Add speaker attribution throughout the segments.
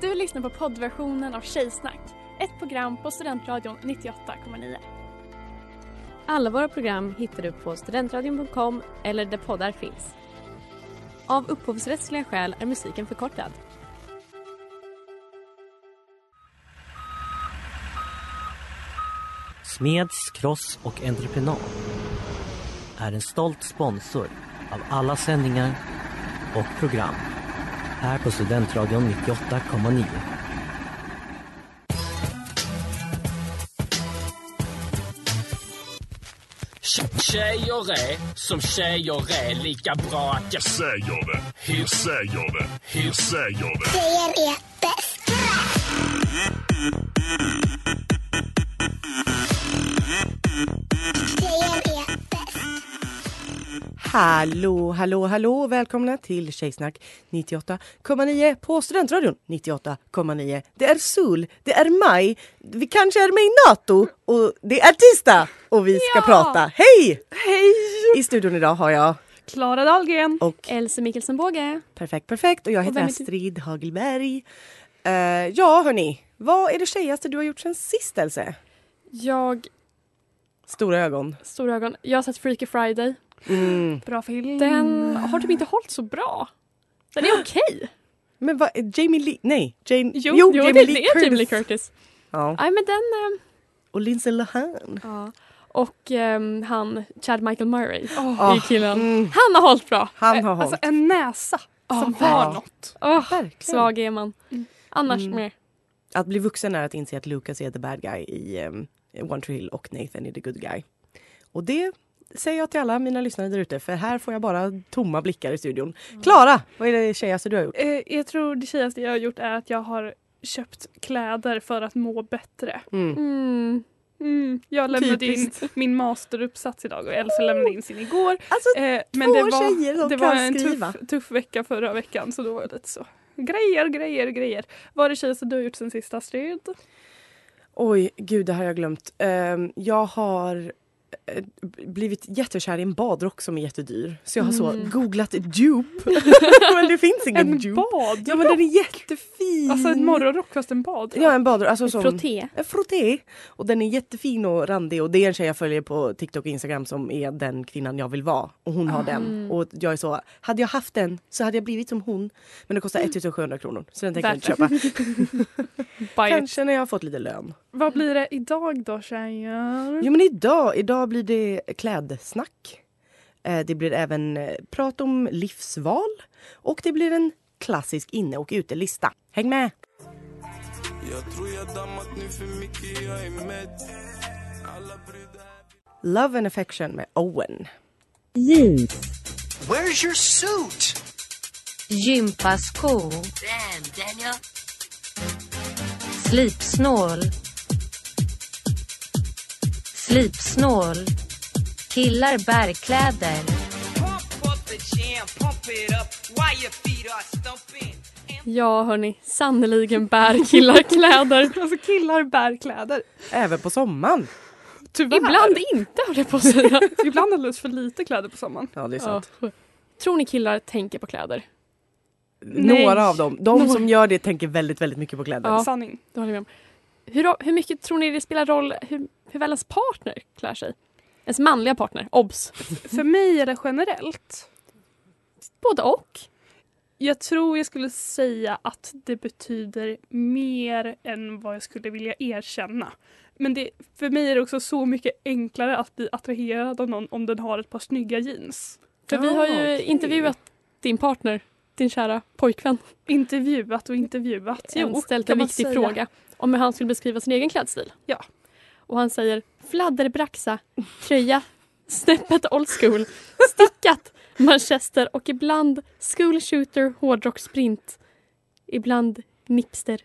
Speaker 1: Du lyssnar på poddversionen av Tjejsnack, ett program på Studentradion 98,9.
Speaker 2: Alla våra program hittar du på studentradion.com eller där poddar finns. Av upphovsrättsliga skäl är musiken förkortad.
Speaker 3: Smeds, Cross och Entreprenad är en stolt sponsor av alla sändningar och program här på Studentradion 98,9.
Speaker 4: Tjejer är som tjejer är lika bra att jag säger det. Jag säger det. Jag säger det.
Speaker 5: Tjejer är bäst. Tjejer är bäst.
Speaker 6: Hallå, hallå, hallå! Välkomna till Tjejsnack 98,9 på Studentradion 98,9. Det är sol, det är maj, vi kanske är med i Nato och det är tisdag och vi ska
Speaker 1: Ja!
Speaker 6: prata. Hej! Hej! I studion idag har jag
Speaker 1: Klara Dahlgren.
Speaker 6: och
Speaker 2: Else Mikkelsen Båge.
Speaker 6: perfekt, perfekt och jag heter
Speaker 2: vem är du?
Speaker 6: Astrid Hagelberg. Eh, ja, hörni, vad är det tjejigaste du har gjort sen sist, Else?
Speaker 1: Jag,
Speaker 6: Stora ögon.
Speaker 1: stora ögon, jag har sett Freaky Friday.
Speaker 6: Mm.
Speaker 7: Bra film.
Speaker 1: Den har typ inte hållit så bra. Den är okej.
Speaker 6: Men vad, Jamie Lee, nej, Jane,
Speaker 1: Jo, jo, det, det är Jamie Lee Curtis.
Speaker 6: Ja.
Speaker 1: Nej men den...
Speaker 6: Och Lindsay Lohan.
Speaker 1: ehm, ja. Och ehm, han, Chad Michael Murray.
Speaker 6: Ah,
Speaker 1: i killen.
Speaker 6: mm.
Speaker 1: Han har hållit bra.
Speaker 6: Han har hållit.
Speaker 7: Alltså en näsa som
Speaker 6: verkligen.
Speaker 7: har något.
Speaker 1: Åh,
Speaker 6: Verkligen.
Speaker 1: svag är man. Annars
Speaker 6: Mm.
Speaker 1: mer.
Speaker 6: Att bli vuxen är att inse att Lucas är the bad guy i um, One Tree Hill och Nathan är the good guy. Och det säger jag till alla mina lyssnare där ute för här får jag bara tomma blickar i studion.
Speaker 7: Mm.
Speaker 6: Klara, vad är det tjejigaste du har gjort?
Speaker 7: Eh, jag tror det tjejigaste jag har gjort är att jag har köpt kläder för att må bättre.
Speaker 1: Mm.
Speaker 7: Mm, jag lämnade in min masteruppsats idag och Elsa lämnade in sin igår.
Speaker 6: Alltså,
Speaker 7: Eh,
Speaker 6: två tjejer som
Speaker 7: det
Speaker 6: kan
Speaker 7: var en
Speaker 6: skriva.
Speaker 7: tuff, tuff vecka förra veckan så då var det lite så. Grejer, grejer, grejer. Vad är det tjejigaste du har gjort sen sist Astrid?
Speaker 6: Oj, gud det har jag glömt. Ehm, jag har eh, blivit jättekär i en badrock som är jättedyr. Så jag har så googlat dupe. men det finns ingen
Speaker 7: Mm. En
Speaker 6: dupe.
Speaker 7: bad?
Speaker 6: Ja men den är jättefin.
Speaker 7: Alltså en morgonrock fast en bad?
Speaker 6: Ja en badrock. Alltså, som...
Speaker 2: Proté.
Speaker 6: En frotté. Och den är jättefin och randig och det är en tjej jag följer på TikTok och Instagram som är den kvinnan jag vill vara. Och hon har den. Och jag är så, hade jag haft den så hade jag blivit som hon. Men det kostar 1700 kronor så den tänker jag inte köpa.
Speaker 7: Buy it.
Speaker 6: Kanske när jag har fått lite lön.
Speaker 7: Vad blir det idag då tjejer?
Speaker 6: Jo men idag, idag blir det klädsnack. Eh, Det blir även eh, prat om livsval. Och det blir en klassisk inne och utelista. Häng med! Love and affection med Owen.
Speaker 8: Where's your suit?
Speaker 9: Gympaskor. Slipsnål. Slipsnål. Killar bärkläder.
Speaker 1: Ja hörni, sannerligen bär killar kläder.
Speaker 7: Alltså killar bär kläder.
Speaker 6: Även på sommaren.
Speaker 7: Tyvärr.
Speaker 1: Ibland inte höll jag på att säga.
Speaker 7: Ibland alldeles för lite kläder på sommaren.
Speaker 6: Ja, det är
Speaker 1: Ja.
Speaker 6: sant.
Speaker 1: Tror ni killar tänker på kläder?
Speaker 7: Nej.
Speaker 6: Några av dem. De som gör det tänker väldigt, väldigt mycket på kläder.
Speaker 1: Ja.
Speaker 7: Sanning.
Speaker 1: Det håller jag med om. Hur, hur mycket tror ni det spelar roll hur, hur väl ens partner klär sig? Ens manliga partner, obs!
Speaker 7: För mig är det generellt.
Speaker 1: Både och.
Speaker 7: Jag tror jag skulle säga att det betyder mer än vad jag skulle vilja erkänna. Men det, för mig är det också så mycket enklare att bli attraherad av någon om den har ett par snygga jeans.
Speaker 1: För vi
Speaker 6: Ja,
Speaker 1: har ju
Speaker 6: okej.
Speaker 1: intervjuat din partner, din kära pojkvän.
Speaker 7: Intervjuat och intervjuat.
Speaker 1: Jo, ställt
Speaker 7: kan
Speaker 1: en
Speaker 7: man
Speaker 1: viktig
Speaker 7: säga.
Speaker 1: fråga om hur han skulle beskriva sin egen klädstil.
Speaker 7: Ja.
Speaker 1: Och han säger fladderbraxa, tröja, snäppet old school, stickat, manchester och ibland school shooter, hårdrock sprint. Ibland nipster.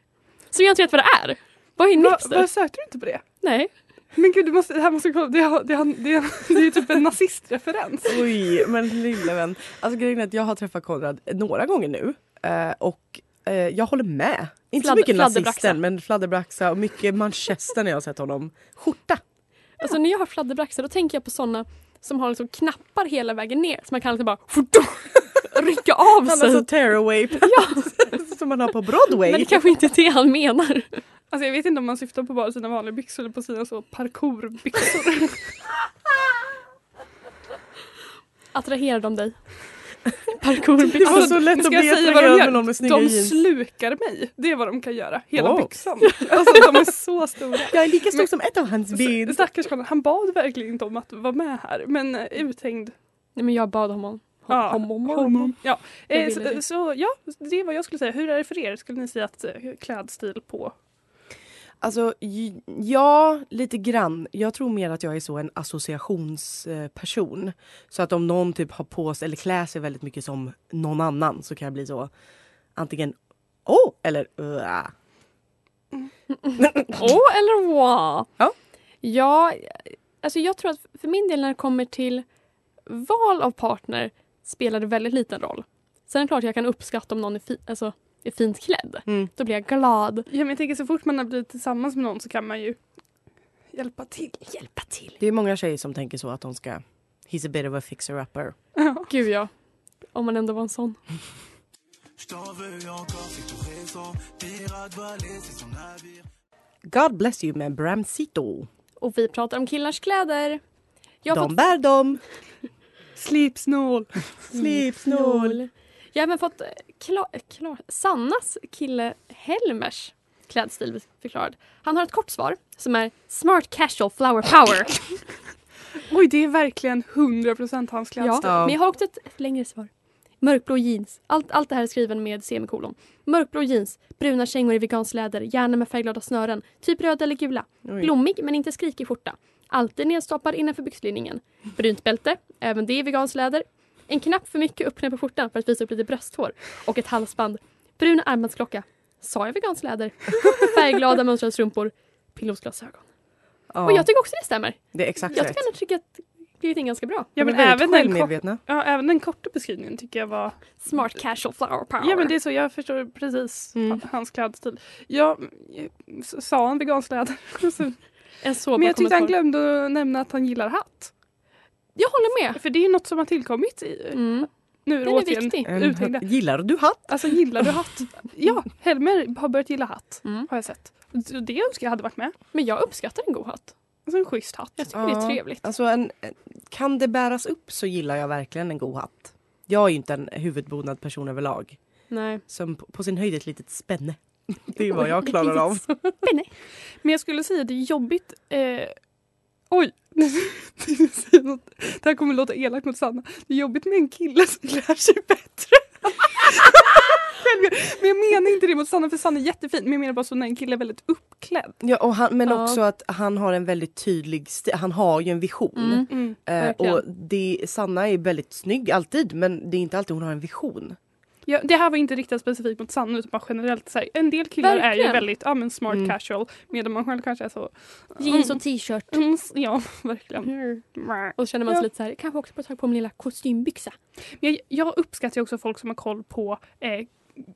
Speaker 1: Som jag inte vet vad det är. Vad är
Speaker 7: Va,
Speaker 1: nipster?
Speaker 7: vad sökte du inte på det?
Speaker 1: Nej.
Speaker 7: Men gud, du måste, det här måste jag kolla. Det, har- det, har- det, har- det är ju typ en nazistreferens.
Speaker 6: Oj, men lilla vän. Alltså grejen är att jag har träffat Konrad några gånger nu eh, och eh, jag håller med. Inte så
Speaker 1: Fladd-
Speaker 6: mycket
Speaker 1: fladderbraxa.
Speaker 6: nazisten men fladderbraxa och mycket manchester när jag har sett honom. Skjorta!
Speaker 1: Alltså när jag har fladderbraxar då tänker jag på såna som har liksom knappar hela vägen ner så man kan liksom bara rycka av
Speaker 6: Han
Speaker 7: alltså,
Speaker 6: har
Speaker 1: sig.
Speaker 6: så tearaway som man har på Broadway.
Speaker 1: Alltså- Men det kanske inte är det han menar.
Speaker 7: Alltså jag vet inte om man syftar på bara sina vanliga byxor eller på sina så parkourbyxor.
Speaker 1: Attraherar de dig?
Speaker 6: det var
Speaker 1: Parkourbyxor. Alltså,
Speaker 6: så lätt att
Speaker 7: Ska jag
Speaker 6: bli
Speaker 7: säga vad de
Speaker 6: attraherad med
Speaker 7: gör?
Speaker 6: någon med snygga
Speaker 7: De
Speaker 6: jeans.
Speaker 7: slukar mig. Det är vad de kan göra. Hela
Speaker 6: Oh.
Speaker 7: byxan. Alltså de är så stora.
Speaker 6: Jag är lika stor
Speaker 7: Men- Alltså,
Speaker 6: som ett av hans ben.
Speaker 7: Så- Stackars Karl, han bad verkligen inte om att vara med här men eh, uthängd.
Speaker 1: Nej men jag bad honom.
Speaker 7: Ja,
Speaker 1: Honom.
Speaker 7: honom. Ja.
Speaker 1: Jag
Speaker 7: Eh,
Speaker 1: ville
Speaker 7: så,
Speaker 1: det.
Speaker 7: så ja, det var jag skulle säga. Hur är det för er? Skulle ni säga att eh, klädstil på?
Speaker 6: Alltså, j- ja, lite grann. Jag tror mer att jag är så en associationsperson. eh, Så att om någon typ har på sig eller klär sig väldigt mycket som någon annan så kan jag bli så antingen åh eller uh.
Speaker 1: Oh, eller wow.
Speaker 6: Ja.
Speaker 1: ja, alltså jag tror att för min del när det kommer till val av partner spelar det väldigt liten roll. Sen är det klart jag kan uppskatta om någon är, fi- alltså, är fint klädd.
Speaker 6: Mm.
Speaker 1: Då blir jag glad.
Speaker 7: Ja, men jag tänker så fort man har blivit tillsammans med någon så kan man ju hjälpa till.
Speaker 1: Hjälpa till.
Speaker 6: Det är många tjejer som tänker så att de ska He's a bit of a fixer-upper.
Speaker 1: Gud ja. Om man ändå var en sån.
Speaker 6: God bless you med Bramsito.
Speaker 1: Och vi pratar om killars kläder. Jag har
Speaker 6: De
Speaker 1: fått
Speaker 6: bär dem.
Speaker 7: Slipsnål.
Speaker 6: Slipsnål.
Speaker 1: Jag har även fått eh, kla- kla- Sannas kille Helmers klädstil förklarad. Han har ett kort svar som är smart casual flower power.
Speaker 7: Oj, det är verkligen 100% hans
Speaker 1: Ja,
Speaker 7: klädstil.
Speaker 6: Ja.
Speaker 1: men jag har också ett, ett längre svar. Mörkblå jeans. Allt, allt det här är skriven med semikolon. Mörkblå jeans, bruna kängor i veganskt läder, gärna med färgglada snören, typ röda eller gula.
Speaker 6: Oj.
Speaker 1: Blommig men inte skrikig skjorta. Alltid nedstoppad innanför byxlinningen. Brunt bälte, även det i veganskt läder. En knapp för mycket uppknäppt på skjortan för att visa upp lite brösthår. Och ett halsband. Brun armbandsklocka. Sa jag veganskt läder? Färgglada mönstrade strumpor. Pilotglasögon. Och
Speaker 6: Ja,
Speaker 1: jag tycker också det stämmer.
Speaker 6: det är exakt
Speaker 1: Jag
Speaker 6: rätt.
Speaker 1: tycker ändå tycker att det är ganska bra.
Speaker 7: Ja,
Speaker 6: De är
Speaker 7: men
Speaker 6: väldigt
Speaker 7: även den, kort,
Speaker 6: självmedvetna.
Speaker 7: ja, även den korta beskrivningen tycker jag var
Speaker 1: Smart casual flower power.
Speaker 7: Ja men det är så, jag förstår precis
Speaker 6: Mm.
Speaker 7: ha- hans klädstil. Jag eh, s- sa han veganskt läder. Så-
Speaker 1: En sårbar
Speaker 7: men jag tyckte han
Speaker 1: kommentar.
Speaker 7: glömde att nämna att han gillar hatt.
Speaker 1: Jag håller med.
Speaker 7: För det är något som har tillkommit i,
Speaker 1: Mm.
Speaker 7: nu
Speaker 1: Den är viktig.
Speaker 6: En
Speaker 7: uthängda.
Speaker 6: hatt- Gillar du hatt?
Speaker 7: Alltså gillar du hatt? Ja, Helmer har börjat gilla hatt
Speaker 1: Mm.
Speaker 7: har jag sett. Så Det önskar jag hade varit med.
Speaker 1: Men jag uppskattar en god hatt.
Speaker 7: Alltså en schysst hatt.
Speaker 1: Jag tycker det är
Speaker 6: Ja.
Speaker 1: trevligt.
Speaker 6: Alltså en, kan det bäras upp så gillar jag verkligen en god hatt. Jag är ju inte en huvudbonad person överlag.
Speaker 1: Nej.
Speaker 6: Som på, på sin höjd ett litet spänne. Det är vad jag klarar av.
Speaker 7: Men jag skulle säga det är jobbigt. Eh, oj! Jag tänkte säga något. det här kommer låta elakt mot Sanna. Det är jobbigt med en kille som klär sig bättre. Själv- men jag menar inte det mot Sanna för Sanna är jättefin. Men jag menar bara så när en kille är väldigt uppklädd.
Speaker 6: Ja, och han, men
Speaker 1: Ja.
Speaker 6: också att han har en väldigt tydlig sti- Han har ju en vision.
Speaker 1: Mm.
Speaker 6: Eh,
Speaker 1: verkligen.
Speaker 6: och det, Sanna är väldigt snygg alltid men det är inte alltid hon har en vision.
Speaker 7: Ja, det här var inte riktat specifikt mot Sanna utan bara generellt. Så här, en del killar är ju
Speaker 1: Verkligen.
Speaker 7: väldigt ja, men smart
Speaker 6: Mm.
Speaker 7: casual medan man själv kanske är så.
Speaker 1: Jeans och t-shirt.
Speaker 7: Mm, ja,
Speaker 1: Mm.
Speaker 7: verkligen. Men
Speaker 1: Och så känner man sig
Speaker 7: Ja.
Speaker 1: lite så här, kanske också på tag på min lilla kostymbyxa.
Speaker 7: Jag, jag uppskattar ju också folk som har koll på eh,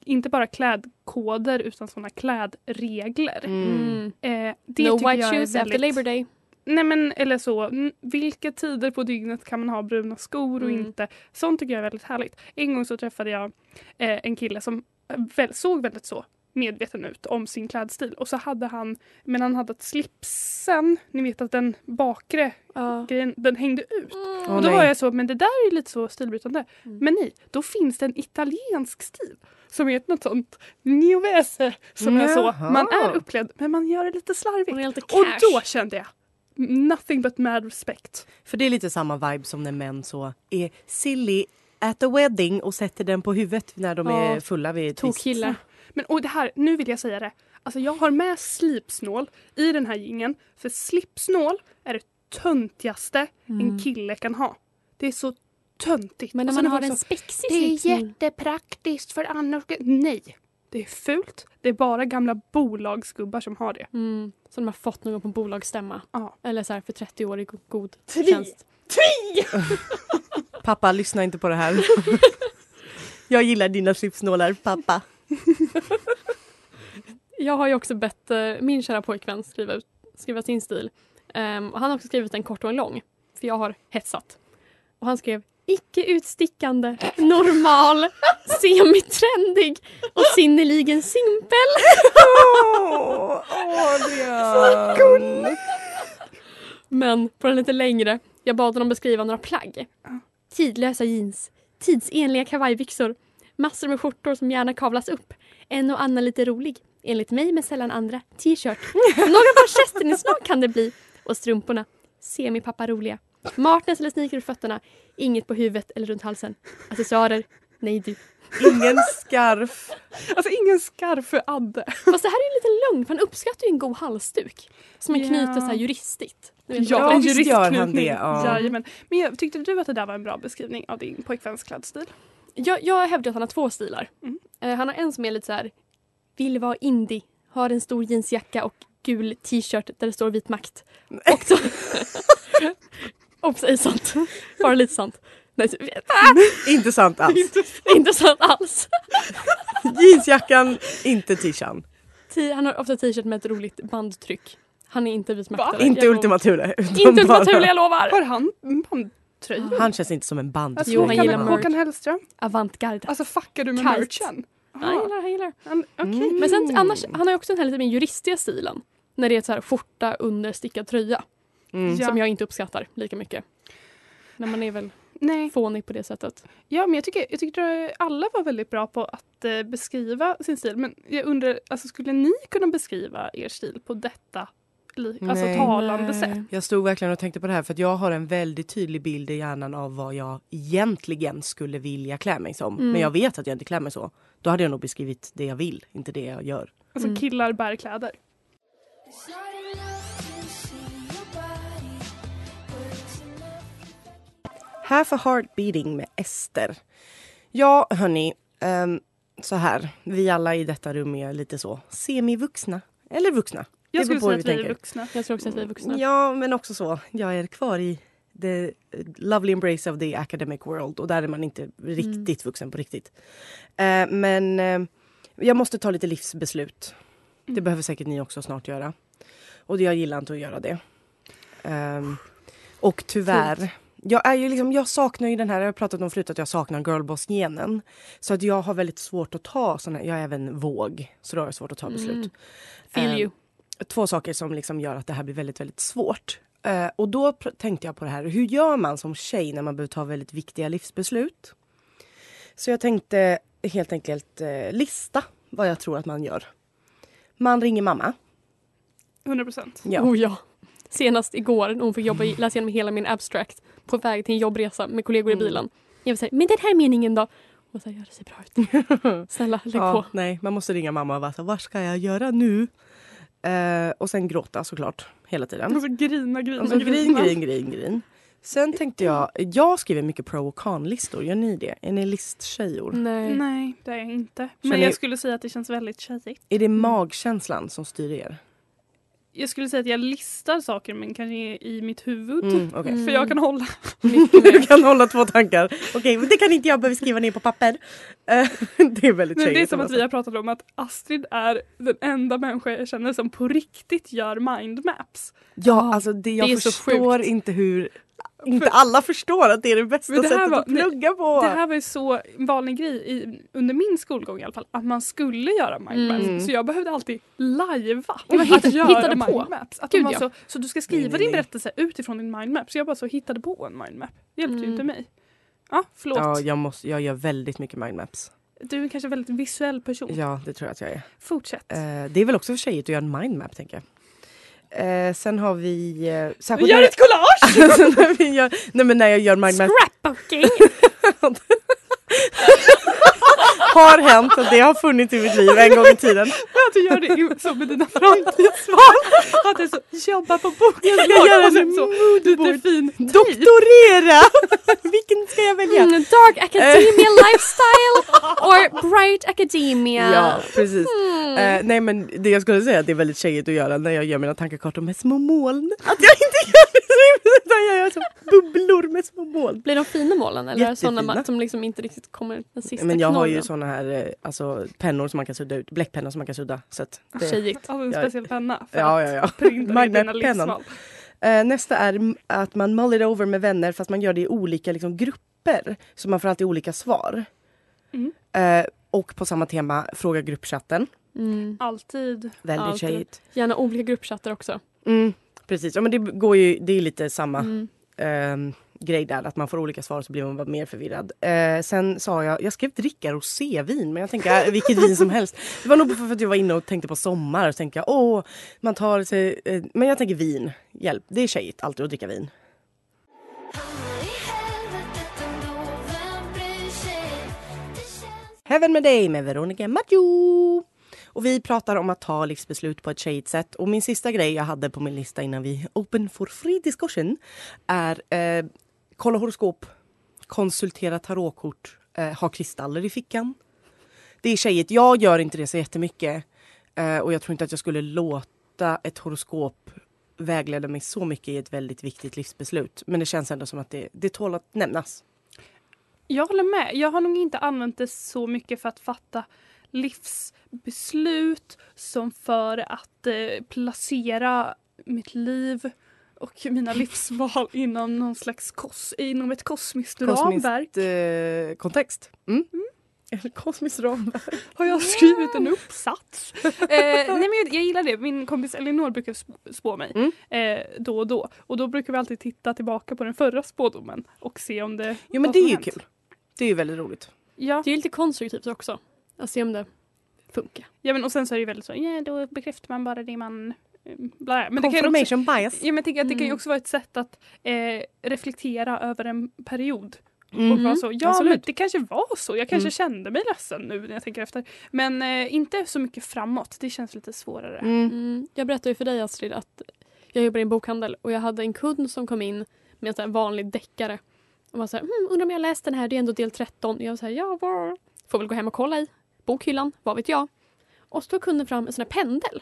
Speaker 7: inte bara klädkoder utan sådana klädregler. Eh, det
Speaker 1: Mm. no
Speaker 7: tycker
Speaker 1: white
Speaker 7: jag är
Speaker 1: shoes
Speaker 7: väldigt-
Speaker 1: after Labor Day.
Speaker 7: Nej men eller så, n- vilka tider på dygnet kan man ha bruna skor och
Speaker 1: Mm.
Speaker 7: inte? Sånt tycker jag är väldigt härligt. En gång så träffade jag eh, en kille som väl, såg väldigt så medveten ut om sin klädstil och så hade han, men han hade att slipsen, ni vet att den bakre
Speaker 1: Ja.
Speaker 7: grejen, den hängde ut.
Speaker 6: Åh,
Speaker 7: och då
Speaker 6: nej.
Speaker 7: var jag så, men det där är ju lite så stilbrytande.
Speaker 1: Mm.
Speaker 7: Men nej, då finns det en italiensk stil som är något sånt neovese som är så,
Speaker 6: Jaha.
Speaker 7: man är uppklädd men man gör det lite slarvigt.
Speaker 1: Man är lite
Speaker 7: Och
Speaker 1: cash.
Speaker 7: då kände jag nothing but mad respect.
Speaker 6: För det är lite samma vibe som när män så är silly at a wedding och sätter den på huvudet när de
Speaker 1: Ja.
Speaker 6: är fulla vid ett visst-
Speaker 1: Tokkillar.
Speaker 7: Mm. Men och det här, nu vill jag säga det. Alltså jag har med slipsnål i den här gingen för slipsnål är det töntigaste en kille kan ha. Det är så töntigt.
Speaker 1: Mm. Men när
Speaker 7: Och
Speaker 1: man
Speaker 7: sen är
Speaker 1: har
Speaker 7: folk
Speaker 1: en
Speaker 7: så,
Speaker 1: spexig Mm.
Speaker 7: Det är
Speaker 1: slipsnål.
Speaker 7: jättepraktiskt för annars... Nej! Det är fult. Det är bara gamla bolagsgubbar som har det.
Speaker 1: Mm. Som de har fått någon på en bolagsstämma.
Speaker 7: Ja.
Speaker 1: Eller så här för 30 år i go- god tjänst.
Speaker 6: Pappa, lyssna inte på det här. jag gillar dina slipsnålar, pappa.
Speaker 1: Jag har ju också bett eh, min kära pojkvän skriva, ut, skriva sin stil. Ehm, och han har också skrivit en kort och en lång. För jag har hetsat. Och han skrev icke utstickande, normal, semitrendig och sinnerligen simpel.
Speaker 6: Åh, Adrian! Så gulligt!
Speaker 1: Men på den lite längre. Jag bad honom beskriva några plagg. Tidlösa jeans, tidsenliga kavajbyxor, massor med skjortor som gärna kavlas upp, en och annan lite rolig, enligt mig men sällan andra, t-shirt. Några manchesterinslag kan det bli. Och strumporna, semipappa roliga. Martens eller sneaker i fötterna, inget på huvudet eller runt halsen. Accessoarer, nej du.
Speaker 6: Ingen skarf.
Speaker 7: Alltså ingen skarv för Adde.
Speaker 1: Fast det här är ju lite lögn, för han uppskattar ju en god halsduk. Som man
Speaker 7: Ja.
Speaker 1: knyter så här juristigt. Du vet,
Speaker 6: Ja,
Speaker 1: en
Speaker 6: visst
Speaker 1: jurist-
Speaker 6: gör han
Speaker 7: Knutning.
Speaker 6: det, ja.
Speaker 7: Jajamän. Men jag, tyckte du att det där var en bra beskrivning av din pojkväns klädstil?
Speaker 1: Jag, jag hävdar att han har två stilar.
Speaker 7: Mm.
Speaker 1: Eh, han har en som är lite så här, vill vara indie, har en stor jeansjacka och gul t-shirt där det står vit makt. Och så... Obs, är sant. Bara lite sant. Nej, så-
Speaker 6: Inte sant alls.
Speaker 1: inte sant alls.
Speaker 6: Jeansjackan, inte tishan.
Speaker 1: T- Han har ofta t-shirt med ett roligt bandtryck. Han är inte vit
Speaker 7: Va?
Speaker 1: maktare.
Speaker 6: Inte
Speaker 1: Jag-
Speaker 6: Ultima Thule. utan
Speaker 1: Inte Ultima
Speaker 6: bara-
Speaker 1: Thule, jag lovar!
Speaker 7: Har han bandtröja?
Speaker 6: Han känns inte som en band.
Speaker 7: Alltså,
Speaker 1: Jo, han
Speaker 7: Håkan,
Speaker 1: gillar merch.
Speaker 7: Håkan Hellström?
Speaker 1: Avantgarde.
Speaker 7: Alltså fuckar du med
Speaker 1: Kite.
Speaker 7: merchen?
Speaker 1: Han
Speaker 7: Ja,
Speaker 1: gillar, Mm. han gillar.
Speaker 7: han- Okej.
Speaker 1: Men sen, annars,
Speaker 6: Mm.
Speaker 1: han har ju också den här lite mer juristiga stilen. När det är så här skjorta under stickad tröja.
Speaker 6: Mm.
Speaker 7: Ja.
Speaker 1: Som jag inte uppskattar lika mycket. Men man är väl
Speaker 7: Nej.
Speaker 1: fånig på det sättet.
Speaker 7: Ja, men jag tycker, jag tycker alla var väldigt bra på att eh, beskriva sin stil. Men jag undrar, alltså, skulle ni kunna beskriva er stil på detta li- alltså,
Speaker 6: Nej.
Speaker 7: talande sätt?
Speaker 6: Jag stod verkligen och tänkte på det här för att jag har en väldigt tydlig bild i hjärnan av vad jag egentligen skulle vilja klä mig som.
Speaker 1: Mm.
Speaker 6: Men jag vet att jag inte klär mig så. Då hade jag nog beskrivit det jag vill, inte det jag gör.
Speaker 7: Alltså
Speaker 1: Mm.
Speaker 7: killar bär kläder.
Speaker 6: Här för Heart Beating med Ester. Ja, hörni. ehm, så här, vi alla i detta rum är lite så semivuxna. Eller vuxna.
Speaker 7: Jag
Speaker 6: Det beror
Speaker 7: skulle
Speaker 6: på hur
Speaker 7: säga att vi är
Speaker 6: tänker.
Speaker 7: vuxna.
Speaker 1: Jag tror också att vi är vuxna.
Speaker 6: Ja, men också så. Jag är kvar i the lovely embrace of the academic world och där är man inte riktigt vuxen på riktigt. Eh, men eh, jag måste ta lite livsbeslut. Det
Speaker 1: Mm.
Speaker 6: behöver säkert ni också snart göra. Och det- jag gillar inte att göra det. Ehm, och tyvärr, jag, är ju liksom, jag saknar ju den här, jag har pratat om förut att jag saknar girlboss-genen. Så att jag har väldigt svårt att ta såna, jag är även våg, så då har jag svårt att
Speaker 1: Mm.
Speaker 6: ta beslut Eh,
Speaker 1: Feel you.
Speaker 6: två saker som liksom gör att det här blir väldigt, väldigt svårt. Eh, och då pr- tänkte jag på det här, hur gör man som tjej när man behöver ta väldigt viktiga livsbeslut? Så jag tänkte helt enkelt eh, lista vad jag tror att man gör. Man ringer mamma.
Speaker 7: 100 procent.
Speaker 6: Ja.
Speaker 1: Oh ja. Senast igår när hon fick jobba, i- läsa igenom hela min abstract på väg till en jobbresa med kollegor i
Speaker 6: Mm.
Speaker 1: bilen. Jag var såhär, men den här meningen då? Och så här, ja det ser bra ut. Snälla lägg
Speaker 6: Ja,
Speaker 1: på.
Speaker 6: nej, man måste ringa mamma och vara så här, vad ska jag göra nu? Eh, och sen gråta såklart, hela tiden.
Speaker 7: Alltså grina, grina,
Speaker 6: Alltså grin,
Speaker 7: grina.
Speaker 6: grin, grin, grin. Sen tänkte jag, jag skriver mycket pro och con-listor, gör ni det? Är ni listtjejor?
Speaker 1: Nej.
Speaker 7: Nej, det är jag inte.
Speaker 6: Känner
Speaker 7: Men
Speaker 6: ni-
Speaker 7: jag skulle säga att det känns väldigt tjejigt.
Speaker 6: Är det magkänslan som styr er?
Speaker 7: Jag skulle säga att jag listar saker men kanske i mitt huvud.
Speaker 6: Mm, okej.
Speaker 7: För jag kan hålla.
Speaker 6: Du kan hålla två tankar. Okej, men det kan inte jag behöva skriva ner på papper. Eh, det är väldigt
Speaker 7: Men det är
Speaker 6: tjejigt,
Speaker 7: som att
Speaker 6: alltså.
Speaker 7: vi har pratat om att Astrid är den enda människa jag känner som på riktigt gör mindmaps.
Speaker 6: Ja, alltså det, jag
Speaker 1: Det är så
Speaker 6: förstår
Speaker 1: sjukt.
Speaker 6: inte hur... Inte alla förstår att det är det bästa
Speaker 7: Men det här
Speaker 6: sättet
Speaker 7: var-
Speaker 6: att plugga på.
Speaker 7: Det här var ju så vanlig grej i, under min skolgång i alla fall att man skulle göra mindmaps.
Speaker 6: Mm.
Speaker 7: Så jag behövde alltid lajva
Speaker 1: Ja, men hitta-
Speaker 7: att göra
Speaker 1: hittade på.
Speaker 7: mindmaps. Att
Speaker 1: Gud,
Speaker 7: man
Speaker 1: ja.
Speaker 7: så, så du ska
Speaker 6: Nej,
Speaker 7: skriva
Speaker 6: nej,
Speaker 7: din
Speaker 6: nej.
Speaker 7: berättelse utifrån din mindmap. Så jag bara så hittade på en mindmap. Det hjälpte ju
Speaker 1: Mm.
Speaker 7: inte mig. Ja, förlåt.
Speaker 6: Ja, jag, måste, jag gör väldigt mycket mindmaps.
Speaker 7: Du är kanske en väldigt visuell person.
Speaker 6: Ja, det tror jag att jag är.
Speaker 7: Fortsätt.
Speaker 6: Eh, det är väl också för tjejigt att göra en mindmap, tänker jag. Eh, sen har vi... Eh, särskilt
Speaker 7: Gör
Speaker 6: när-
Speaker 7: ett collage!
Speaker 6: Alltså, när vi gör, nej, men när jag gör mindmaps
Speaker 1: Scrapbooking!
Speaker 6: har hänt att det har funnits i mitt liv en gång i tiden.
Speaker 7: Att du gör det i- så med dina framtidsval. Att du så jobbar på boken.
Speaker 6: Jag gör
Speaker 7: och sen
Speaker 6: en
Speaker 7: så lite fin
Speaker 6: Doktorera! Vilken ska jag välja?
Speaker 1: Mm, dark academia lifestyle or bright academia.
Speaker 6: Ja, precis. Eh, nej men det jag skulle säga är att det är väldigt tjejigt att göra när jag gör mina tankekartor med små moln. Att jag inte gör det så utan jag gör så bubblor med små moln.
Speaker 1: Blir de fina målen eller är det sådana
Speaker 6: Jättefina.
Speaker 1: man- som liksom inte riktigt kommer den sista
Speaker 6: Men jag har ju
Speaker 1: knorren?
Speaker 6: såna här eh, alltså, pennor som man kan sudda ut, bläckpennor som man kan sudda. Så att det,
Speaker 1: Tjejigt.
Speaker 7: Alltså en
Speaker 6: Ja.
Speaker 7: speciell penna för
Speaker 6: Ja,
Speaker 7: att
Speaker 6: ja, ja.
Speaker 7: printa in dina
Speaker 6: Magnetpennan.
Speaker 7: livsval.
Speaker 6: Eh, nästa är m- att man mullar over med vänner fast man gör det i olika liksom, grupper. papper så man får alltid olika svar.
Speaker 7: Mm.
Speaker 6: Eh, och på samma tema, fråga gruppchatten.
Speaker 1: Mm.
Speaker 7: Alltid.
Speaker 6: Väldigt
Speaker 1: Alltid.
Speaker 6: tjejigt.
Speaker 1: Gärna olika gruppchatter också.
Speaker 6: Mm, precis, ja, men det, går ju, det är lite samma
Speaker 1: Mm.
Speaker 6: ehm, grej där. Att man får olika svar så blir man bara mer förvirrad. Eh, sen sa jag, jag skrev dricka rosévin men jag tänker äh, vilket vin som helst. Det var nog för att jag var inne och tänkte på sommar och tänkte jag åh, man tar sig, eh, men jag tänker vin, hjälp. Det är tjejigt alltid att dricka vin. Heaven med dig med Veronica Maggio. Och vi pratar om att ta livsbeslut på ett tjejigt sätt. Och min sista grej jag hade på min lista innan vi open for free discussion är eh, kolla horoskop, konsultera tarotkort, eh, ha kristaller i fickan. Det är tjejigt. Jag gör inte det så jättemycket. Eh, och jag tror inte att jag skulle låta ett horoskop vägleda mig så mycket i ett väldigt viktigt livsbeslut. Men det känns ändå som att det, det tål att nämnas.
Speaker 7: Jag håller med. Jag har nog inte använt det så mycket för att fatta livsbeslut som för att eh, placera mitt liv och mina livsval inom någon slags kos, inom ett kosmiskt
Speaker 6: Kosmiskt,
Speaker 7: ramverk.
Speaker 6: eh, kontext. Mm. Kosmiskt ram.
Speaker 7: Har jag skrivit en uppsats? eh, nej men jag, jag gillar det. Min kompis Elinor brukar sp- spå mig
Speaker 6: Mm.
Speaker 7: eh, då och då. Och då brukar vi alltid titta tillbaka på den förra spådomen och se om det...
Speaker 6: Jo men
Speaker 7: vad
Speaker 6: det
Speaker 7: som
Speaker 6: är ju
Speaker 7: hänt.
Speaker 6: kul. Det är ju väldigt roligt.
Speaker 7: Ja.
Speaker 1: Det är lite konstruktivt också. Att se om det funkar.
Speaker 7: ja men och sen så är det ju väldigt så, ja då bekräftar man bara det man... eh, Bla, men det kan ju också,
Speaker 6: Confirmation bias.
Speaker 7: ja, men jag tänker att det kan ju
Speaker 1: Mm.
Speaker 7: också vara ett sätt att eh, reflektera över en period.
Speaker 6: Mm.
Speaker 7: Och vara så, ja
Speaker 6: Absolut.
Speaker 7: men det kanske var så, jag kanske
Speaker 6: Mm.
Speaker 7: kände mig ledsen nu när jag tänker efter. Men eh, inte så mycket framåt, det känns lite svårare.
Speaker 6: Mm.
Speaker 1: Mm. Jag berättade ju för dig Astrid att jag jobbar i en bokhandel och jag hade en kund som kom in med en sån här vanlig deckare. Och var så här, mm, undrar om jag har läst den här, det är ändå del 13. Jag var så här, ja, var. får väl gå hem och kolla i bokhyllan, vad vet jag. Och så tog kunden fram en sån här pendel.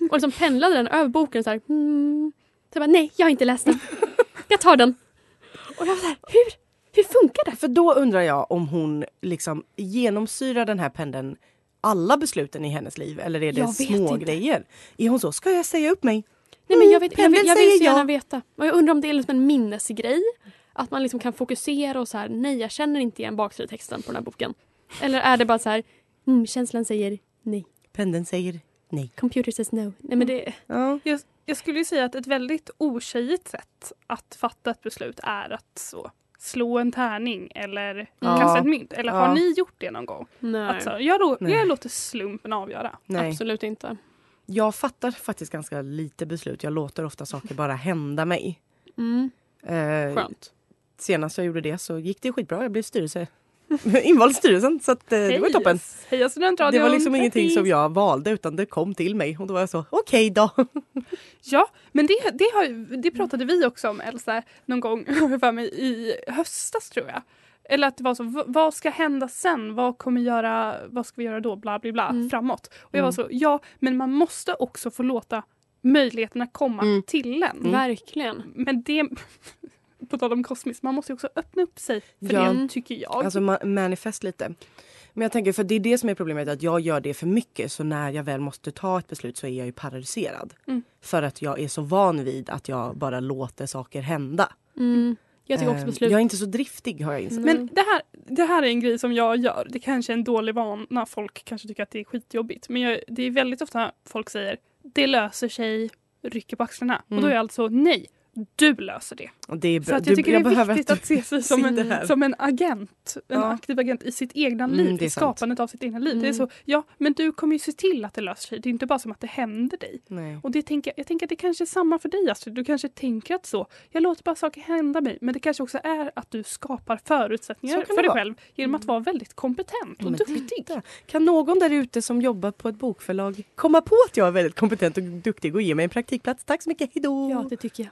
Speaker 1: Och liksom pendlade den över boken så här. Mm. Så jag bara, nej, jag har inte läst den. Jag tar den. Och jag var så här, hur, hur funkar det?
Speaker 6: För då undrar jag om hon liksom genomsyrar den här pendeln alla besluten i hennes liv eller är det
Speaker 1: Jag vet
Speaker 6: små
Speaker 1: inte.
Speaker 6: grejer? Är hon så, ska jag säga upp mig?
Speaker 1: Nej, men jag, vet, jag,
Speaker 6: pendeln
Speaker 1: vill, jag
Speaker 6: Mm, säger
Speaker 1: vill så gärna
Speaker 6: ja.
Speaker 1: veta. Och jag undrar om det är liksom en minnesgrej. Att man liksom kan fokusera och så här, nej jag känner inte igen baksidetexten på den här boken. Eller är det bara så här, mm, känslan säger nej.
Speaker 6: Pendeln säger nej.
Speaker 1: Computer says no. Nej men det,
Speaker 6: Ja.
Speaker 7: Jag, jag skulle ju säga att ett väldigt otjejigt sätt att fatta ett beslut är att så, slå en tärning eller
Speaker 6: Ja.
Speaker 7: kasta ett mynt. Eller
Speaker 6: Ja.
Speaker 7: har ni gjort det någon gång?
Speaker 1: nej.
Speaker 7: Att så, jag, då,
Speaker 6: Nej.
Speaker 7: jag låter slumpen avgöra.
Speaker 6: Nej.
Speaker 1: Alltså, Absolut inte.
Speaker 6: Jag fattar faktiskt ganska lite beslut. Jag låter ofta saker bara hända mig.
Speaker 1: Mm,
Speaker 6: Eh,
Speaker 1: skönt.
Speaker 6: senast jag gjorde det så gick det skitbra. Jag blev styrelse. invald i styrelsen så att, eh, det var ju toppen.
Speaker 7: Yes. Heja
Speaker 6: Det
Speaker 7: studentradion!
Speaker 6: var liksom ingenting
Speaker 7: Hej.
Speaker 6: som jag valde utan det kom till mig och då var jag så okej då.
Speaker 7: Ja, men det, det, har, det pratade vi också om Elsa någon gång har jag för mig, i höstas tror jag. Eller att det var så, v- vad ska hända sen? Vad kommer göra, vad ska vi göra då? Bla bla bla,
Speaker 1: Mm.
Speaker 7: framåt. Och jag var så, ja men man måste också få låta möjligheterna komma
Speaker 6: Mm.
Speaker 7: till en.
Speaker 1: Verkligen.
Speaker 7: Men det, på tal om kosmiskt, man måste ju också öppna upp sig för
Speaker 6: Ja.
Speaker 7: det tycker jag.
Speaker 6: Alltså ma- manifest lite. Men jag tänker, för det är det som är problemet, att jag gör det för mycket. Så när jag väl måste ta ett beslut så är jag ju paralyserad.
Speaker 7: Mm.
Speaker 6: För att jag är så van vid att jag bara låter saker hända.
Speaker 1: Mm. Jag tycker också
Speaker 6: Eh,
Speaker 1: beslut.
Speaker 6: Jag är inte så driftig har jag insett.
Speaker 7: men det här, det här är en grej som jag gör. Det kanske är en dålig vana. Folk kanske tycker att det är skitjobbigt. Men jag, det är väldigt ofta folk säger det löser sig, rycker på axlarna. Och då är jag alltså nej, du löser det.
Speaker 6: Och Det är bra.
Speaker 7: Så att jag
Speaker 6: Mm. Du-
Speaker 7: tycker det är
Speaker 6: behöver
Speaker 7: viktigt
Speaker 6: du-
Speaker 7: att, se sig som
Speaker 6: sitter här.
Speaker 7: en, som en agent. En
Speaker 6: Ja.
Speaker 7: aktiv agent i sitt egna
Speaker 6: Mm,
Speaker 7: liv,
Speaker 6: det är
Speaker 7: i
Speaker 6: sant. Mm.
Speaker 7: skapandet av sitt egna liv. Det är så, ja men du kommer ju se till att det löser sig. Det är inte bara som att det händer dig.
Speaker 6: Nej.
Speaker 7: Och det tänker, jag- jag tänker att det kanske är samma för dig Astrid. Du kanske tänker att så, jag låter bara saker hända mig. Men det kanske också är att du skapar
Speaker 6: Så
Speaker 7: förutsättningar
Speaker 6: kan det
Speaker 7: för dig
Speaker 6: vara. Mm.
Speaker 7: själv genom att vara väldigt kompetent och
Speaker 6: Men
Speaker 7: duktig.
Speaker 6: titta, Kan någon där ute som jobbar på ett bokförlag komma på att jag är väldigt kompetent och duktig och ge mig en praktikplats? Tack så mycket, hejdå!
Speaker 1: Ja det tycker jag.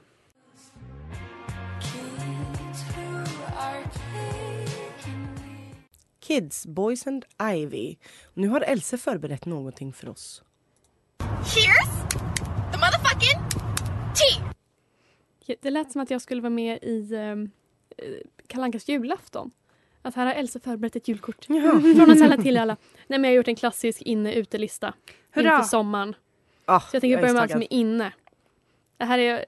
Speaker 6: Kids, Boys and Ivy. Nu har Else förberett någonting för oss.
Speaker 5: Here's the motherfucking tea.
Speaker 1: Ja, Det lät som att jag skulle vara med i um, Kalankas julafton. Att här har Elsa förberett ett julkort. Från oss alla till alla. Nej men jag har gjort en klassisk inne-utelista. Inför
Speaker 7: Hurra!
Speaker 1: sommaren.
Speaker 6: Ah,
Speaker 1: Så jag tänker
Speaker 6: är
Speaker 1: börja med allt
Speaker 6: taggad.
Speaker 1: som är inne. Det här är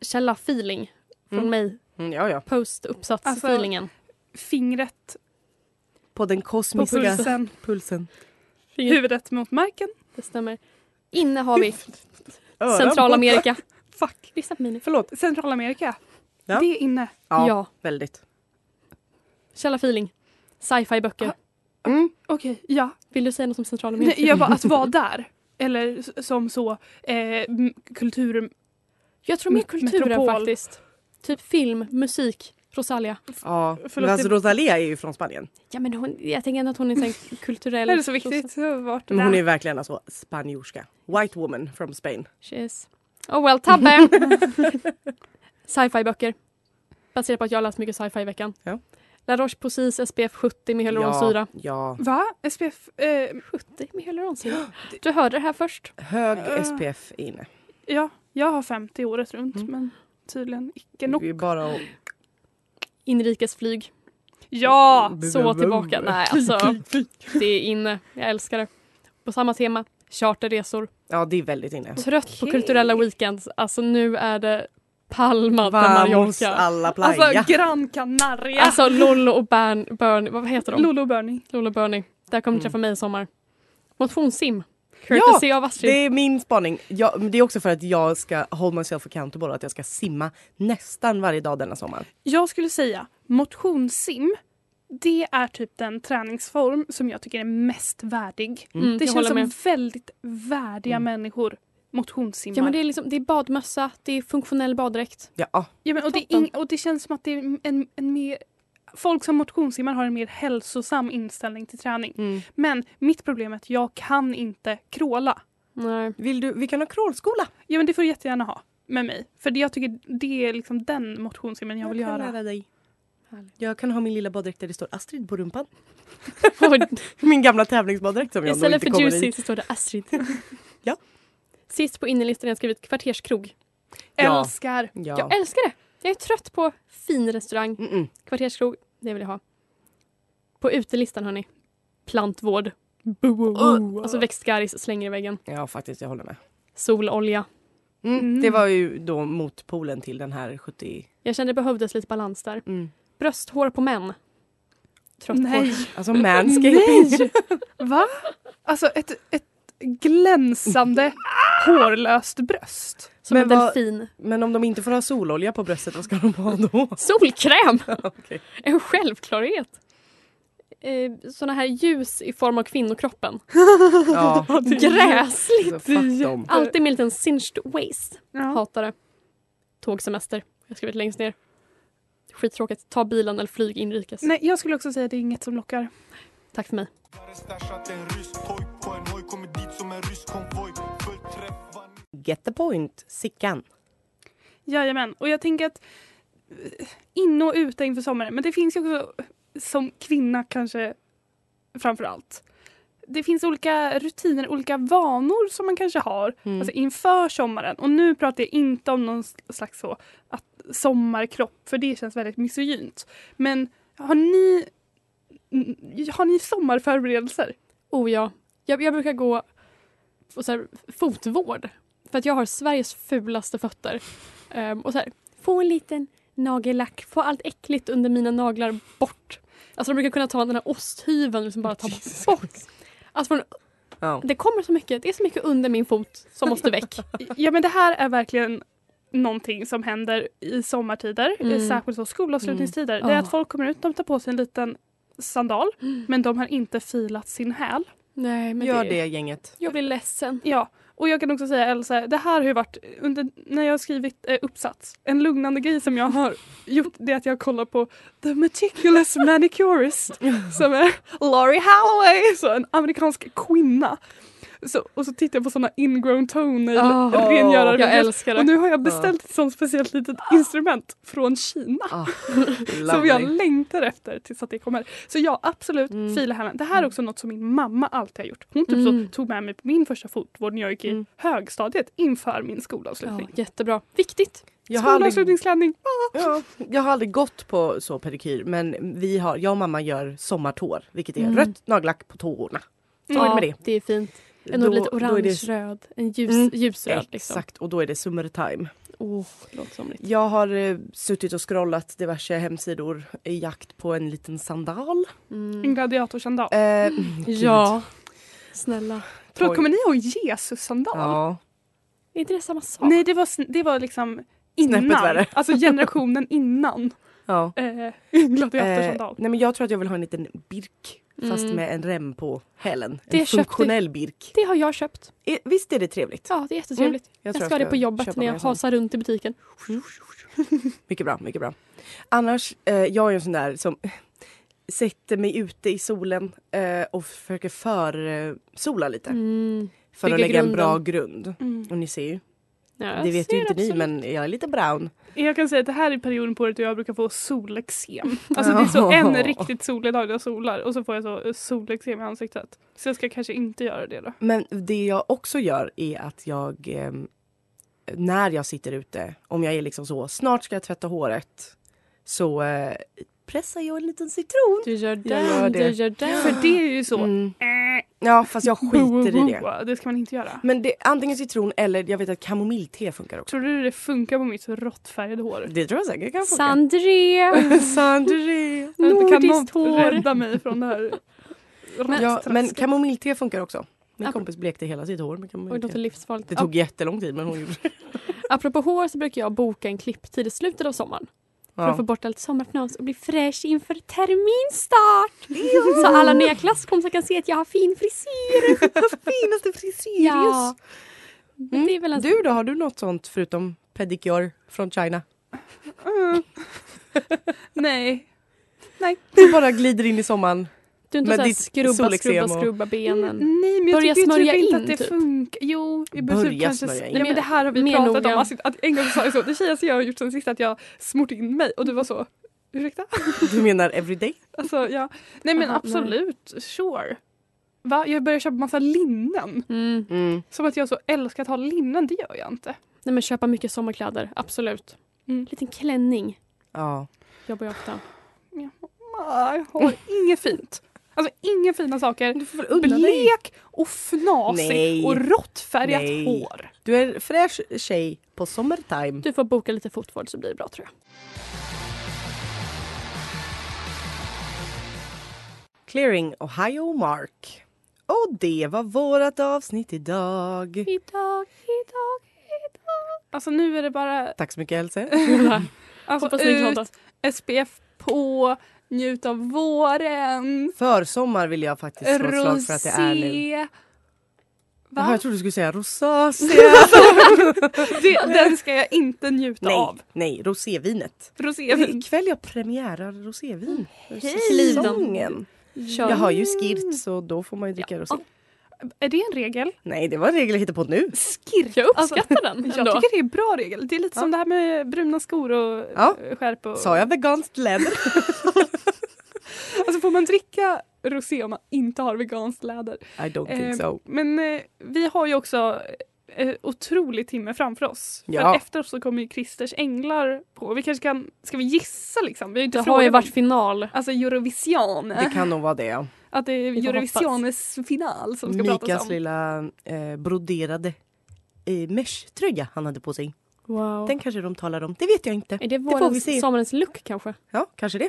Speaker 1: källa-feeling. Från
Speaker 6: Mm.
Speaker 1: mig.
Speaker 6: Mm, ja, ja.
Speaker 7: Alltså-
Speaker 1: Post-uppsats-feelingen.
Speaker 7: fingret
Speaker 6: På den
Speaker 7: på
Speaker 6: kosmiska pulsen.
Speaker 7: pulsen, huvudet mot marken.
Speaker 1: Det stämmer. Inne har vi
Speaker 6: Öron
Speaker 1: Centralamerika.
Speaker 7: Fuck.
Speaker 1: Lyssna på mig nu.
Speaker 6: Förlåt.
Speaker 7: Centralamerika.
Speaker 6: Ja.
Speaker 7: Det är inne.
Speaker 6: Ja,
Speaker 1: Ja.
Speaker 6: väldigt.
Speaker 1: Källa feeling. Sci-fi böcker.
Speaker 6: Mm.
Speaker 7: Okej, ja.
Speaker 1: Vill du säga något om Centralamerika?
Speaker 7: Ah. Nej, jag bara att vara där. Eller s- som så, eh, m- kultur...
Speaker 1: Jag tror mer
Speaker 7: Met-
Speaker 1: kulturen
Speaker 7: metropol.
Speaker 1: faktiskt. Typ film, musik, Rosalia.
Speaker 6: Ja.
Speaker 7: Förlåt,
Speaker 6: Men alltså
Speaker 7: det-
Speaker 6: Rosalia är ju från Spanien.
Speaker 1: Ja, men hon, jag tänker ändå att hon är en kulturell...
Speaker 7: Är det så viktigt? Vart
Speaker 6: Men hon är verkligen alltså spanjorska. White woman from Spain.
Speaker 1: Cheers. Oh well, tabbe! sci-fi böcker. Baserat på att jag har läst mycket sci-fi i veckan.
Speaker 6: Ja.
Speaker 1: La Roche-Posay SPF 70 med hyaluronsyra.
Speaker 6: Ja, ja.
Speaker 7: Va? SPF? Eh,
Speaker 1: 70 med hyaluronsyra? Du hörde det här först.
Speaker 6: Hög
Speaker 7: Äh.
Speaker 6: SPF är inne.
Speaker 7: ja, jag har 50 året runt
Speaker 6: Mm.
Speaker 7: men tydligen
Speaker 6: Det
Speaker 7: icke
Speaker 6: är
Speaker 7: nog.
Speaker 6: ju bara att...
Speaker 1: Inrikesflyg.
Speaker 7: Ja!
Speaker 1: Så tillbaka. Nej, alltså. Det är inne. Jag älskar det. På samma tema. Charterresor.
Speaker 6: Ja, det är väldigt inne.
Speaker 1: Trött på kulturella weekends. Alltså nu är det Palma de
Speaker 6: Vamos
Speaker 1: Mallorca.
Speaker 6: a la playa.
Speaker 7: Alltså Gran Canaria!
Speaker 1: Alltså Lollo och Bern, Bern, vad heter de?
Speaker 7: Lolo Bernie.
Speaker 1: Lollo och Bernie. Där kommer ni träffa mig i sommar. Motionssim.
Speaker 6: ja,
Speaker 1: Courtesy av Astrid.
Speaker 6: det är min spaning. Jag, men det är också för att jag ska hold myself accountable att jag ska simma nästan varje dag denna sommar.
Speaker 7: Jag skulle säga motionssim. Det är typ den träningsform som jag tycker är mest värdig.
Speaker 1: Mm,
Speaker 7: Det
Speaker 1: jag
Speaker 7: känns
Speaker 1: håller
Speaker 7: som
Speaker 1: med. Mm.
Speaker 7: väldigt värdiga människor motionssimmar.
Speaker 1: Ja men det är liksom, det är badmössa, det är funktionell baddräkt.
Speaker 6: Ja, ah,
Speaker 7: Ja, men, och, det är ing- och det känns som att det är en, en mer... Folk som motionssimmar har en mer hälsosam inställning till träning.
Speaker 6: Mm.
Speaker 7: Men mitt problem är att jag kan inte kråla.
Speaker 1: Nej.
Speaker 6: vill du, vi kan ha crawlskola.
Speaker 7: Ja, men det får du jättegärna ha med mig. För det- jag tycker det är liksom den motionssimmen jag vill
Speaker 6: kan
Speaker 7: göra.
Speaker 6: lära dig.
Speaker 1: Härligt.
Speaker 6: Jag kan ha min lilla baddräkt där det står Astrid på rumpan.
Speaker 1: Och
Speaker 6: Min gamla tävlingsbaddräkt som jag nog
Speaker 1: Istället
Speaker 6: inte
Speaker 1: för
Speaker 6: kommer
Speaker 1: juicy
Speaker 6: i.
Speaker 1: så står det Astrid.
Speaker 6: Ja.
Speaker 1: Sist på innerlistan har jag skrivit kvarterskrog.
Speaker 6: Ja.
Speaker 7: Älskar!
Speaker 6: Ja.
Speaker 1: Jag älskar det! Jag är trött på fin restaurang.
Speaker 6: Mm -mm.
Speaker 1: Kvarterskrog, det vill jag ha. På utelistan hörni. Plantvård. Alltså växtgaris, slänger i väggen.
Speaker 6: ja, faktiskt. Jag håller med.
Speaker 1: Sololja.
Speaker 6: Mm.
Speaker 7: Mm.
Speaker 6: Det var ju då motpolen till den här 70...
Speaker 1: Jag kände det behövdes lite balans där.
Speaker 6: Mm.
Speaker 1: Brösthår på män. Trött på.
Speaker 7: Nej!
Speaker 6: Alltså manscaping.
Speaker 7: Nej! Va? Alltså ett, ett glänsande hårlöst bröst.
Speaker 1: Som
Speaker 6: Men
Speaker 1: en
Speaker 6: vad-
Speaker 1: delfin.
Speaker 6: Men om de inte får ha sololja på bröstet, vad ska de ha då?
Speaker 1: Solkräm!
Speaker 6: Okej.
Speaker 1: En självklarhet. Eh, såna här ljus i form av kvinnokroppen.
Speaker 6: Ja.
Speaker 1: Gräsligt!
Speaker 6: Alltså, fuck dem.
Speaker 1: Alltid med en liten cinched waist.
Speaker 7: Ja.
Speaker 1: Hatar det. Tågsemester. Jag har skrivit längst ner. Skittråkigt. Ta bilen eller flyg inrikes.
Speaker 7: Nej, jag skulle också säga att det är inget som lockar.
Speaker 1: Tack för mig.
Speaker 6: Get the point, Sickan.
Speaker 7: Jajamän, och jag tänker att eh, in och uta inför sommaren. Men det finns ju också, eh, som kvinna kanske framför allt. Det finns olika rutiner, olika vanor som man kanske har
Speaker 6: Mm.
Speaker 7: alltså inför sommaren. Och nu pratar jag inte om någon slags så att sommarkropp, för det känns väldigt misogynt. Men har ni, n- har ni sommarförberedelser?
Speaker 1: Oh ja. Jag, jag brukar gå och så här, fotvård. För att jag har Sveriges fulaste fötter. Ehm, och så här, få en liten nagellack. Få allt äckligt under mina naglar bort. Alltså de brukar kunna ta den här osthyveln och liksom bara ta bort. Alltså från,
Speaker 6: Ja.
Speaker 1: det kommer så mycket. Det är så mycket under min fot som måste väck.
Speaker 7: Ja men det här är verkligen någonting som händer i sommartider,
Speaker 1: Mm.
Speaker 7: eh, särskilt så skolavslutningstider.
Speaker 1: Mm.
Speaker 7: Det är
Speaker 1: Ja.
Speaker 7: att folk kommer ut, de tar på sig en liten sandal men de har inte filat sin häl.
Speaker 1: Nej, men
Speaker 6: Gör det gänget.
Speaker 1: Jag blir ledsen.
Speaker 7: Ja, och jag kan också säga Elsa, det här har ju varit under, när jag har skrivit eh, uppsats, en lugnande grej som jag har gjort det är att jag kollar på The Meticulous Manicurist som är Laurie Halloway, så en amerikansk kvinna. Så, och så tittar jag på såna ingrown toenail
Speaker 1: Åh,
Speaker 7: rengörare.
Speaker 1: Jag älskar
Speaker 7: Och
Speaker 1: det.
Speaker 7: nu har jag beställt ett sånt speciellt litet instrument från Kina
Speaker 6: Ah,
Speaker 7: som jag
Speaker 6: lovely.
Speaker 7: längtar efter tills att det kommer. Så ja, absolut,
Speaker 6: Mm.
Speaker 7: fila hemmen. Det här är också något som min mamma alltid har gjort. Hon typ
Speaker 1: Mm.
Speaker 7: så tog med mig på min första fotvård när jag gick i
Speaker 6: Mm.
Speaker 7: högstadiet inför min
Speaker 1: Ja,
Speaker 7: skolavslutning.
Speaker 1: jättebra. Viktigt.
Speaker 6: jag, har aldrig, Mm.
Speaker 7: Skolavslutningsklänning.
Speaker 6: ja, jag har aldrig gått på så pedikyr men vi har, jag och mamma gör sommartår vilket är
Speaker 1: Mm.
Speaker 6: rött nagellack på tårna.
Speaker 7: Mm.
Speaker 6: är det med det.
Speaker 1: är fint. En
Speaker 6: Då-
Speaker 1: lite
Speaker 6: då är det-
Speaker 1: orange-röd. En ljus,
Speaker 6: Mm.
Speaker 1: ljusröd. Liksom.
Speaker 6: Exakt och då är det summertime.
Speaker 1: Åh, låter somrigt.
Speaker 6: Jag har eh, suttit och scrollat diverse hemsidor i jakt på en liten sandal.
Speaker 1: Mm.
Speaker 7: En gladiatorsandal.
Speaker 6: Eh,
Speaker 1: Ja. Snälla.
Speaker 7: Förlåt,
Speaker 6: oj.
Speaker 7: kommer ni ihåg Jesus-sandal?
Speaker 6: Ja.
Speaker 1: Är inte det samma sak?
Speaker 7: Nej, det var, sn- det var liksom
Speaker 6: Snäppet
Speaker 7: innan.
Speaker 6: värre.
Speaker 7: Alltså generationen innan
Speaker 6: ja.
Speaker 7: eh,
Speaker 6: Eh,
Speaker 7: gladiatorsandal.
Speaker 6: nej men jag tror att jag vill ha en liten birk fast
Speaker 1: Mm.
Speaker 6: med en rem på hälen.
Speaker 1: Det
Speaker 6: En
Speaker 1: köpte-
Speaker 6: funktionell birk.
Speaker 1: Det har jag köpt.
Speaker 6: Eh, Visst är det trevligt?
Speaker 1: Ja, det är jättetrevligt.
Speaker 6: Mm.
Speaker 1: Jag, ska ha det på jobbet
Speaker 6: köpa
Speaker 1: när jag
Speaker 6: mig en sån.
Speaker 1: hasar runt i butiken.
Speaker 6: Mycket bra, mycket bra. Annars, eh, jag är ju en sån där som sätter mig ute i solen eh, och försöker försola eh, sola lite.
Speaker 1: Mm.
Speaker 6: för att
Speaker 1: bygger
Speaker 6: lägga en bra grund.
Speaker 7: Mm.
Speaker 6: Och ni ser ju,
Speaker 1: Ja,
Speaker 6: det
Speaker 1: jag
Speaker 6: vet
Speaker 1: ser
Speaker 6: ju inte
Speaker 1: absolut.
Speaker 6: ni men jag är lite brown.
Speaker 7: Jag kan säga att det här är perioden på året då jag brukar få solexem. Alltså det är så en riktigt solig dag jag solar och så får jag så eh, solexem i ansiktet. Så jag ska kanske inte göra det då.
Speaker 6: Men det jag också gör är att jag ehm, när jag sitter ute, om jag är liksom så snart ska jag tvätta håret så eh, pressar jag en liten citron.
Speaker 1: Du gör den,
Speaker 6: gör det.
Speaker 1: du gör den.
Speaker 7: För det är ju så.
Speaker 6: Mm.
Speaker 7: Äh,
Speaker 6: Ja fast jag skiter i det.
Speaker 7: det. det ska man inte göra.
Speaker 6: Men det, antingen citron eller jag vet att kamomillte funkar också.
Speaker 7: Tror du det funkar på mitt så råttfärgade hår?
Speaker 6: Det tror jag säkert kan funka.
Speaker 1: Sandré!
Speaker 6: Sandré.
Speaker 7: kan någon
Speaker 1: Nordiskt hår.
Speaker 7: rädda mig från det här
Speaker 6: Ja, men
Speaker 7: råtttrasket?
Speaker 6: kamomillte funkar också. Min
Speaker 1: Ap-
Speaker 6: kompis blekte hela sitt hår med
Speaker 1: Oj, det låter
Speaker 6: kamomillte.
Speaker 1: livsfarligt.
Speaker 6: Det tog jättelång tid men hon gjorde det.
Speaker 1: Apropå hår så brukar jag boka en klipptid i slutet av sommaren. För att få
Speaker 6: Ja.
Speaker 1: bort allt sommarfnös och bli fräsch inför terminstart! Så alla nya klasskompisar kan se att jag har fin frisyr.
Speaker 6: Finaste frisyr
Speaker 1: Ja.
Speaker 6: Mm.
Speaker 1: Det är väl en
Speaker 6: Du då, har du något sånt förutom pedicure från China?
Speaker 7: Ah. Nej.
Speaker 6: Du bara glider in i sommaren.
Speaker 1: Du är inte
Speaker 6: Men
Speaker 1: såhär
Speaker 6: ditt
Speaker 1: skrubba,
Speaker 6: solexem
Speaker 1: skrubba,
Speaker 6: och-
Speaker 1: skrubba benen.
Speaker 7: Nej men jag
Speaker 1: Börja
Speaker 7: tycker ju
Speaker 1: smörja
Speaker 7: typ inte
Speaker 1: in,
Speaker 7: att det
Speaker 1: typ.
Speaker 7: funkar. Jo, i
Speaker 6: Börja
Speaker 7: princip kanske.
Speaker 6: smörja in.
Speaker 7: Nej, men det här har vi
Speaker 1: Mer
Speaker 7: pratat
Speaker 1: noga.
Speaker 7: om. Alltså, att en gång sa jag så, det tjejigaste jag har gjort sen sist är att jag smort in mig och du var så, ursäkta?
Speaker 6: Du menar everyday?
Speaker 7: Alltså, ja. Nej men
Speaker 1: Aha, nej.
Speaker 7: absolut, sure. Va? Jag börjar köpa massa linnen.
Speaker 1: Mm.
Speaker 6: Mm.
Speaker 7: Som att jag så älskar att ha linnen, det gör jag inte.
Speaker 1: Nej men köpa mycket sommarkläder, absolut.
Speaker 7: Mm.
Speaker 1: Liten klänning
Speaker 6: Ja.
Speaker 1: jobbar jag ofta.
Speaker 7: Ah, Jag har inget fint. Alltså inga fina saker.
Speaker 6: Du får väl unna dig.
Speaker 7: Blek och fnasig
Speaker 6: Nej.
Speaker 7: och råttfärgat
Speaker 6: Nej.
Speaker 7: hår.
Speaker 6: Du är en fräsch tjej på summertime.
Speaker 1: Du får boka lite fotvård så blir det bra tror jag.
Speaker 6: Clearing Ohio Mark. Och det var vårt avsnitt idag.
Speaker 1: Idag, idag.
Speaker 7: Alltså nu är det bara
Speaker 6: Tack så mycket Else.
Speaker 7: alltså,
Speaker 1: Hoppas ni är
Speaker 7: ut,
Speaker 1: glada.
Speaker 7: SPF på, njut av våren,
Speaker 6: Försommar vill jag faktiskt slå ett slag för att det är nu.
Speaker 7: rosé.
Speaker 6: Jaha,
Speaker 7: Va?
Speaker 6: jag trodde du skulle säga rosacea.
Speaker 7: Det, den ska jag inte njuta
Speaker 6: nej,
Speaker 7: av.
Speaker 6: nej, rosévinet.
Speaker 7: Rosévin.
Speaker 6: Ikväll jag premiärar
Speaker 7: Mm,
Speaker 6: rosévin.
Speaker 1: Liv dem.
Speaker 6: Säsongen.
Speaker 1: Kör.
Speaker 6: Jag har ju skirt så då får man ju dricka rosé.
Speaker 7: Är det en regel?
Speaker 6: Nej, det var en regel jag hittade på nu.
Speaker 7: Skirk.
Speaker 1: Jag uppskattar den
Speaker 7: Jag
Speaker 1: ändå.
Speaker 7: tycker det är en bra regel. Det är lite som det här med bruna skor och
Speaker 6: Ja.
Speaker 7: eh, skärp. Och...
Speaker 6: Sa jag veganskt läder?
Speaker 7: Alltså får man dricka rosé om man inte har veganskt läder?
Speaker 6: I don't
Speaker 7: Eh,
Speaker 6: think so.
Speaker 7: Men eh, vi har ju också eh, otrolig timme framför oss.
Speaker 6: Ja.
Speaker 7: För efter oss så kommer ju Christers änglar på. Vi kanske kan, ska vi gissa liksom? Vi har ju inte
Speaker 1: Det har ju
Speaker 7: frågat
Speaker 1: varit
Speaker 7: om-
Speaker 1: final.
Speaker 7: Alltså Eurovision.
Speaker 6: Det kan nog vara det.
Speaker 7: Att det är
Speaker 1: får
Speaker 7: Eurovisionens final som ska
Speaker 6: Mikas
Speaker 7: pratas om.
Speaker 6: lilla eh, broderade eh, mesh-tröja han hade på sig.
Speaker 1: Wow.
Speaker 6: Den kanske de talar om, det vet jag inte.
Speaker 1: Är det
Speaker 6: får vi
Speaker 1: vårens,
Speaker 6: se.
Speaker 1: sommarens look kanske?
Speaker 6: Ja, kanske det.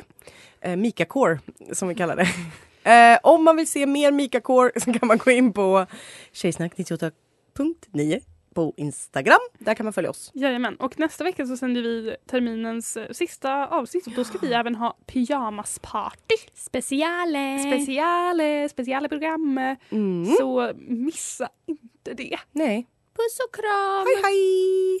Speaker 6: Eh, Mika-core som vi kallar det. Eh, om man vill se mer Mika-core så kan man gå in på tjejsnack98.9 på Instagram. Där kan man följa oss.
Speaker 7: Jajamän, och nästa vecka så sänder vi terminens eh, sista avsnitt och då ska vi även ha pyjamasparty.
Speaker 1: Speciale!
Speaker 7: Speciale, speciale program.
Speaker 6: Mm.
Speaker 7: Så missa inte det.
Speaker 6: Nej.
Speaker 1: Puss och kram!
Speaker 6: Hej hej!